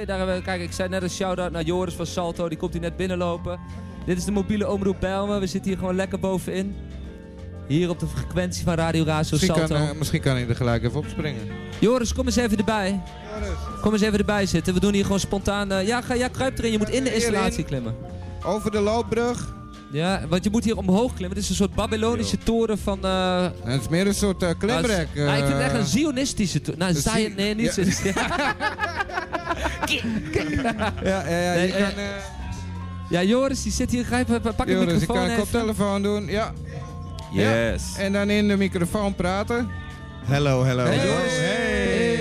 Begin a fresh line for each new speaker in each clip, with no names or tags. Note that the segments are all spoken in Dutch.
Eh, Daar hebben we, kijk, ik zei net een shout-out naar Joris van Salto. Die komt hier net binnenlopen. Dit is de mobiele omroep Bijlmer. We zitten hier gewoon lekker bovenin. Hier op de frequentie van Radio Razo
Misschien kan,
Salto.
eh, misschien kan hij er gelijk even opspringen.
Joris, kom eens even erbij.
Joris.
Kom eens even erbij zitten. We doen hier gewoon spontaan... eh, ja, ga, ja, kruip erin. Je moet in de
Hierin.
installatie klimmen.
Over de loopbrug.
Ja, want je moet hier omhoog klimmen. Dit is een soort Babylonische toren van... eh,
En het is meer een soort eh, klimrek.
Nou, ik vind het echt
eh.
een zionistische... to- Nou,
een
Zion,
Zi-
nee, niet
ja.
Zion-
Ja, ja, ja.
Nee,
je
eh,
kan, eh,
Ja, Joris, die zit hier. Grijp, eh, pak de
Joris, ik
microfoon
kan een
even.
koptelefoon doen. Ja. Ja.
Yes.
En dan in de microfoon praten.
Hello, hello.
Hey,
Joris. Hey.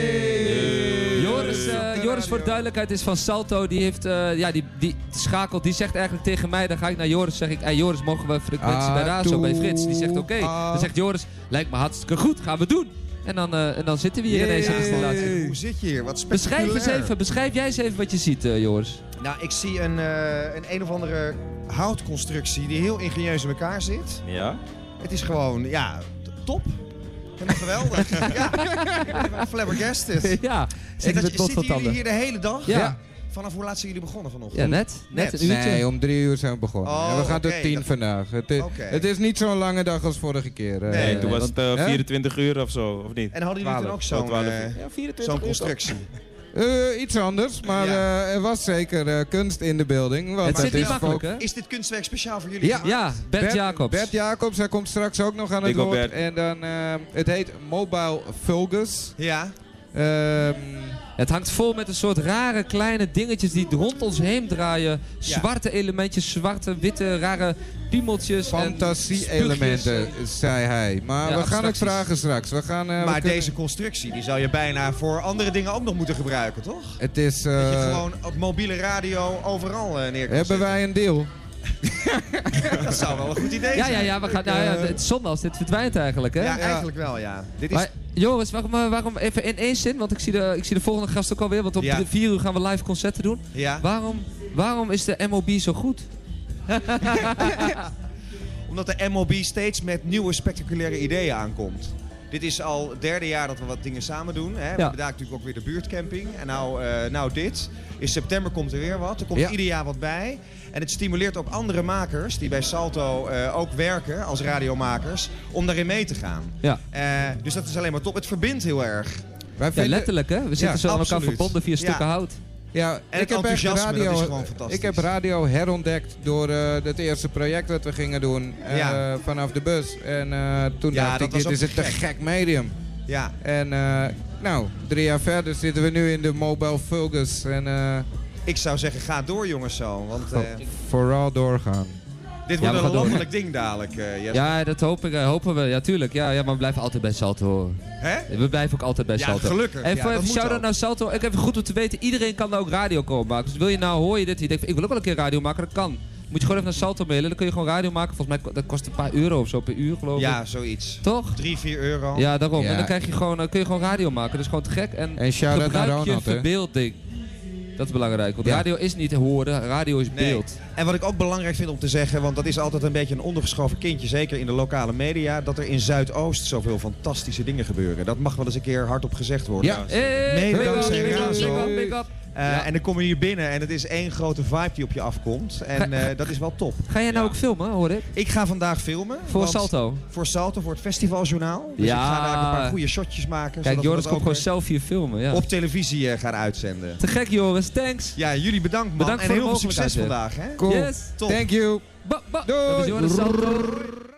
Joris, eh,
Hey.
Joris, voor de duidelijkheid, is van Salto. Die heeft, eh, ja, die, die schakelt. Die zegt eigenlijk tegen mij, dan ga ik naar Joris. Zeg ik, hey, Joris, mogen we frequentie bij
Ah,
Razo, bij
toe.
Frits? Die zegt, oké.
Ah.
Dan zegt Joris, lijkt me hartstikke goed, gaan we doen. En dan, eh, en dan zitten we hier in deze
Yay.
installatie.
Hoe zit je hier? Wat spectaculair.
Beschrijf eens even, beschrijf jij eens even wat je ziet, eh, Joris.
Nou, ik zie een, eh, een een of andere houtconstructie die heel ingenieus in elkaar zit.
Ja?
Het is gewoon, ja, t- top. Helemaal geweldig. ja, ik ben flabbergasted. En
ja, zitten
dat-
met bot van
zitten jullie
tanden.
hier de hele dag?
Ja.
Vanaf hoe laat zijn jullie begonnen vanochtend?
Ja, net. Net
Net.
een uurtje.
Nee, om drie uur zijn we begonnen.
Oh,
En we gaan
oké,
tot tien
dat-
vandaag. Het is,
Oké.
het is niet zo'n lange dag als vorige keer. eh.
Nee,
Nee, toen was het eh,
Hè?
24 uur of zo, of niet?
En hadden jullie toen
Twaalf.
ook zo'n
Oh, twaalf
eh,
uur. ja, 24
zo'n
uur toch?
constructie?
Eh, iets anders, maar
Ja.
eh, er was zeker eh, kunst in de building. Want
Het
dat
zit niet
is
makkelijk, hè?
Is dit kunstwerk speciaal voor jullie?
Ja.
gemaakt?
Ja, Bert, Jacobs.
Bert Jacobs, hij komt straks ook nog aan het
Dikke
woord.
Bert.
En dan, eh, het heet Mobile Vulgus.
Ja.
Ehm,
Het hangt vol met een soort rare kleine dingetjes die rond ons heen draaien.
Ja.
Zwarte elementjes, zwarte, witte, rare piemeltjes. en spuugjes.
Fantasie-elementen, zei hij. Maar
Ja,
we gaan het
abstracties.
vragen straks. We gaan, eh, we
maar
kunnen-
deze constructie die zou je bijna voor andere dingen ook nog moeten gebruiken, toch?
Het is... eh,
Dat je gewoon op mobiele radio overal eh, neer kan
hebben
zetten.
wij een deal?
Dat zou wel een goed idee
Ja,
zijn.
ja, ja, we gaan, nou ja, het is zonde als dit verdwijnt eigenlijk, hè?
Ja, eigenlijk wel, ja. Dit is...
Maar, Joris, waarom, eh, waarom even in één zin, want ik zie, de, ik zie de volgende gast ook alweer, want om
Ja.
drie- vier uur gaan we live concerten doen.
ja.
Waarom, waarom is de MOB zo goed?
Omdat de MOB steeds met nieuwe spectaculaire ideeën aankomt. Dit is al het derde jaar dat we wat dingen samen doen. Hè. We hebben daar natuurlijk ook weer de buurtcamping. En nou, eh, nou dit. In september komt er weer wat. Er komt
Ja.
ieder jaar wat bij. En het stimuleert ook andere makers die bij Salto eh, ook werken als radiomakers. Om daarin mee te gaan.
Ja,
Eh, dus dat is alleen maar top. Het verbindt heel erg.
Wij
ja
vinden-
letterlijk, hè? We zitten zo aan elkaar
absoluut.
verbonden via
Ja.
stukken hout.
Ja,
En
ik
het
heb echt
enthousiasme,
radio,
dat is gewoon fantastisch.
Ik heb radio herontdekt door eh, het eerste project dat we gingen doen eh,
Ja.
vanaf de bus. En eh, toen
Ja,
dacht
dat
ik,
was
dit
ook
is een te
gek.
gek medium.
Ja.
En eh, nou, drie jaar verder zitten we nu in de Mobile Vulgus. En eh,
Ik zou zeggen, ga door jongens zo. Want eh,
vooral doorgaan.
dit
Oh. we gaan
wordt een
door.
landelijk ding dadelijk. eh, Jesse.
Ja, dat hoop ik, eh, hopen we. Ja, tuurlijk. Ja, ja, maar we blijven altijd bij Salto horen.
Hè?
We blijven ook altijd bij
Ja,
Salto.
gelukkig.
En
Ja,
voor
dat
even
moet
shout-out
ook.
naar Salto. Ik even goed om te weten, iedereen kan daar ook radio komen maken. Dus wil je nou, hoor je dit, en je denkt, van, ik wil ook wel een keer radio maken, dat kan. Moet je gewoon even naar Salto mailen, dan kun je gewoon radio maken. Volgens mij ko- dat kost een paar euro of zo per uur, geloof ik.
Ja, zoiets.
Toch?
3, 4 euro.
Ja, daarom.
Ja.
En dan krijg je gewoon, eh, kun je gewoon radio maken. Dat is gewoon te gek. En,
En shout-out naar
gebruik je
Ronald, hè?
verbeelding. Dat is belangrijk, want
Ja.
radio is niet horen, radio is
Nee.
beeld.
En wat ik ook belangrijk vind om te zeggen, want dat is altijd een beetje een ondergeschoven kindje, zeker in de lokale media, dat er in Zuidoost zoveel fantastische dingen gebeuren. Dat mag wel eens een keer hardop gezegd worden.
Ja.
Hey,
Mede
big up,
dankzij
big up,
Razo.
big up, big up.
Eh,
Ja.
En dan kom je hier binnen en het is één grote vibe die op je afkomt. En eh, dat is wel top.
Ga jij nou
Ja.
ook filmen, hoor ik?
Ik ga vandaag filmen.
Voor
want-
Salto.
Voor Salto, voor het festivaljournaal. Dus
Ja.
ik ga daar een paar goede shotjes maken.
Kijk,
zodat we
Joris
dat
komt gewoon
ook
zelf hier filmen. Ja.
weer op televisie eh, gaan uitzenden.
Te gek, Joris. Thanks.
Ja, jullie bedankt man.
Bedankt
en
voor de
heel veel succes
mogelijkheid,
vandaag hè.
Cool.
Yes.
Top.
Thank you.
Ba, ba.
Doei.
Dat is Joris Salto.